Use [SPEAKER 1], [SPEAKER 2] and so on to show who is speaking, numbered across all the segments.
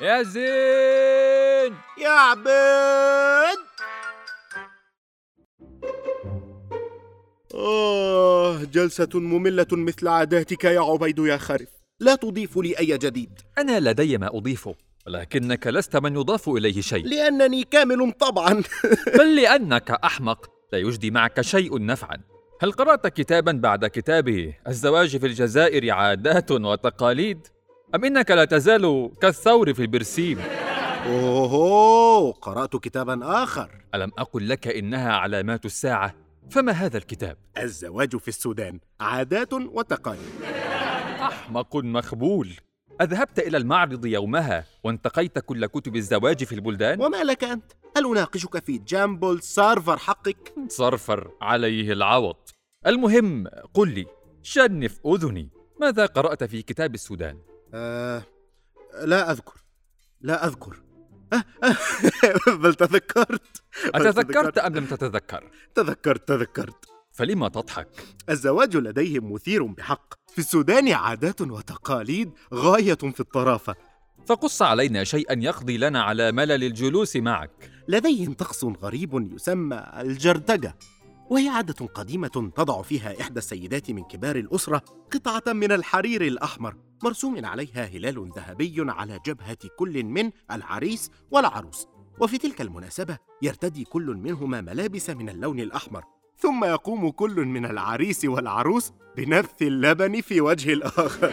[SPEAKER 1] يا زين
[SPEAKER 2] يا عبيد آه جلسة مملة مثل عاداتك يا عبيد يا خرف لا تضيف لي أي جديد
[SPEAKER 1] أنا لدي ما أضيفه ولكنك لست من يضاف إليه شيء
[SPEAKER 2] لأنني كامل طبعا
[SPEAKER 1] بل لأنك أحمق لا يجدي معك شيء نفعا هل قرأت كتابا بعد كتابي الزواج في الجزائر عادات وتقاليد أم إنك لا تزال كالثور في البرسيم
[SPEAKER 2] أوه قرأت كتابا آخر
[SPEAKER 1] ألم أقل لك إنها علامات الساعة فما هذا الكتاب
[SPEAKER 2] الزواج في السودان عادات وتقاليد
[SPEAKER 1] أحمق مخبول أذهبت إلى المعرض يومها وانتقيت كل كتب الزواج في البلدان
[SPEAKER 2] وما لك أنت؟ هل أناقشك في جامبل سيرفر حقك؟
[SPEAKER 1] صرفر عليه العوض المهم قل لي شنف أذني ماذا قرأت في كتاب السودان؟
[SPEAKER 2] آه لا أذكر لا أذكر آه، آه، بل تذكرت بل
[SPEAKER 1] أتذكرت أم لم تتذكر؟
[SPEAKER 2] تذكرت تذكرت
[SPEAKER 1] فلما تضحك؟
[SPEAKER 2] الزواج لديهم مثير بحق في السودان عادات وتقاليد غاية في الطرافة
[SPEAKER 1] فقص علينا شيئا يقضي لنا على ملل الجلوس معك
[SPEAKER 2] لديهم طقس غريب يسمى الجردجة وهي عادة قديمة تضع فيها إحدى السيدات من كبار الأسرة قطعة من الحرير الأحمر مرسوم عليها هلال ذهبي على جبهة كل من العريس والعروس وفي تلك المناسبة يرتدي كل منهما ملابس من اللون الأحمر ثم يقوم كل من العريس والعروس بنبث اللبن في وجه الآخر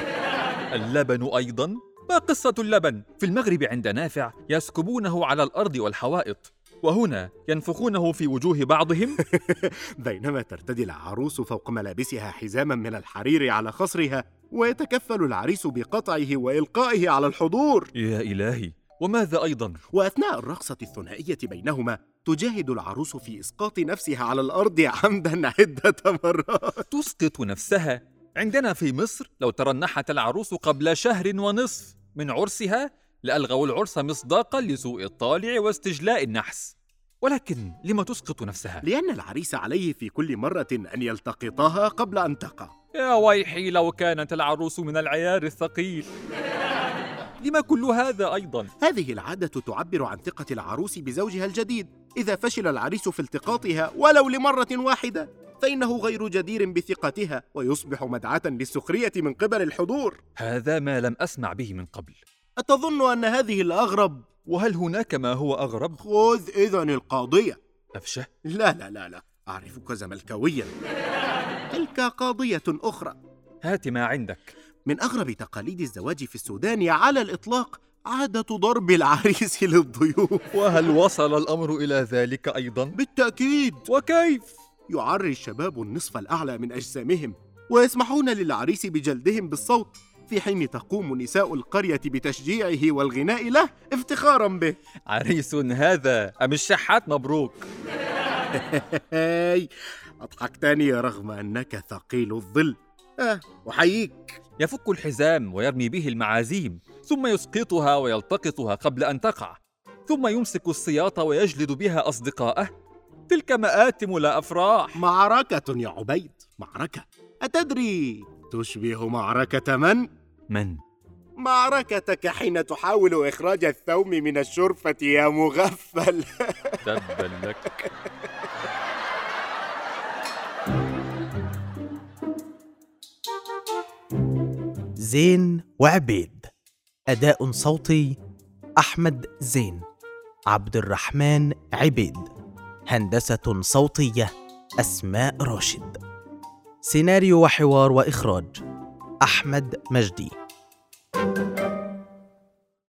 [SPEAKER 1] اللبن أيضا؟ ما قصة اللبن؟ في المغرب عند نافع يسكبونه على الأرض والحوائط وهنا ينفخونه في وجوه بعضهم
[SPEAKER 2] بينما ترتدي العروس فوق ملابسها حزاما من الحرير على خصرها ويتكفل العريس بقطعه وإلقائه على الحضور
[SPEAKER 1] يا إلهي وماذا أيضا؟
[SPEAKER 2] وأثناء الرقصة الثنائية بينهما تجاهد العروس في إسقاط نفسها على الأرض عمدا عدة مرات
[SPEAKER 1] تسقط نفسها عندنا في مصر لو ترنحت العروس قبل شهر ونصف من عرسها لألغوا العرس مصداقا لسوء الطالع واستجلاء النحس ولكن لما تسقط نفسها؟
[SPEAKER 2] لأن العريس عليه في كل مرة أن يلتقطها قبل أن تقع
[SPEAKER 1] يا ويحي لو كانت العروس من العيار الثقيل لما كل هذا أيضا؟
[SPEAKER 2] هذه العادة تعبر عن ثقة العروس بزوجها الجديد إذا فشل العريس في التقاطها ولو لمرة واحدة فإنه غير جدير بثقتها ويصبح مدعاة للسخرية من قبل الحضور
[SPEAKER 1] هذا ما لم أسمع به من قبل
[SPEAKER 2] أتظن أن هذه الأغرب
[SPEAKER 1] وهل هناك ما هو أغرب؟
[SPEAKER 2] خذ إذا القاضية
[SPEAKER 1] أفشه
[SPEAKER 2] لا لا لا لا أعرفك زملكاويا تلك قاضية أخرى
[SPEAKER 1] هات ما عندك
[SPEAKER 2] من أغرب تقاليد الزواج في السودان على الإطلاق عادة ضرب العريس للضيوف
[SPEAKER 1] وهل وصل الأمر إلى ذلك أيضا؟
[SPEAKER 2] بالتأكيد
[SPEAKER 1] وكيف؟
[SPEAKER 2] يعري الشباب النصف الأعلى من أجسامهم ويسمحون للعريس بجلدهم بالصوت في حين تقوم نساء القرية بتشجيعه والغناء له افتخارا به
[SPEAKER 1] عريس هذا أم الشحات مبروك
[SPEAKER 2] هاي أضحكتني رغم أنك ثقيل الظل آه أحييك
[SPEAKER 1] يفك الحزام ويرمي به المعازيم ثم يسقطها ويلتقطها قبل أن تقع ثم يمسك السياط ويجلد بها أصدقاءه تلك مآتم لا أفراح
[SPEAKER 2] معركة يا عبيد معركة أتدري تشبه معركة من؟
[SPEAKER 1] من؟
[SPEAKER 2] معركتك حين تحاول إخراج الثوم من الشرفة يا مغفل
[SPEAKER 1] تبا لك
[SPEAKER 3] زين وعبيد أداء صوتي أحمد زين عبد الرحمن عبيد هندسة صوتية أسماء راشد سيناريو وحوار وإخراج أحمد مجدي